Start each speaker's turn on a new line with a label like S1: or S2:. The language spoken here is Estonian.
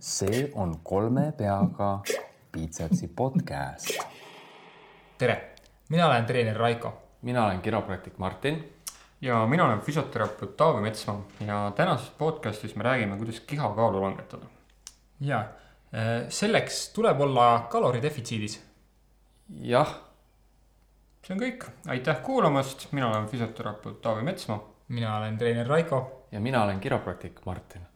S1: see on kolme peaga piitsepsi podcast .
S2: tere , mina olen treener Raiko
S1: mina olen kiropraktik Martin .
S3: ja mina olen füsioterapeut Taavi Metsmaa ja tänases podcastis me räägime , kuidas kihakaalu langetada .
S2: ja eh, selleks tuleb olla kaloridefitsiidis .
S1: jah ,
S3: see on kõik , aitäh kuulamast , mina olen füsioterapeut Taavi Metsmaa .
S2: mina olen treener Raiko .
S1: ja mina olen kiropraktik Martin .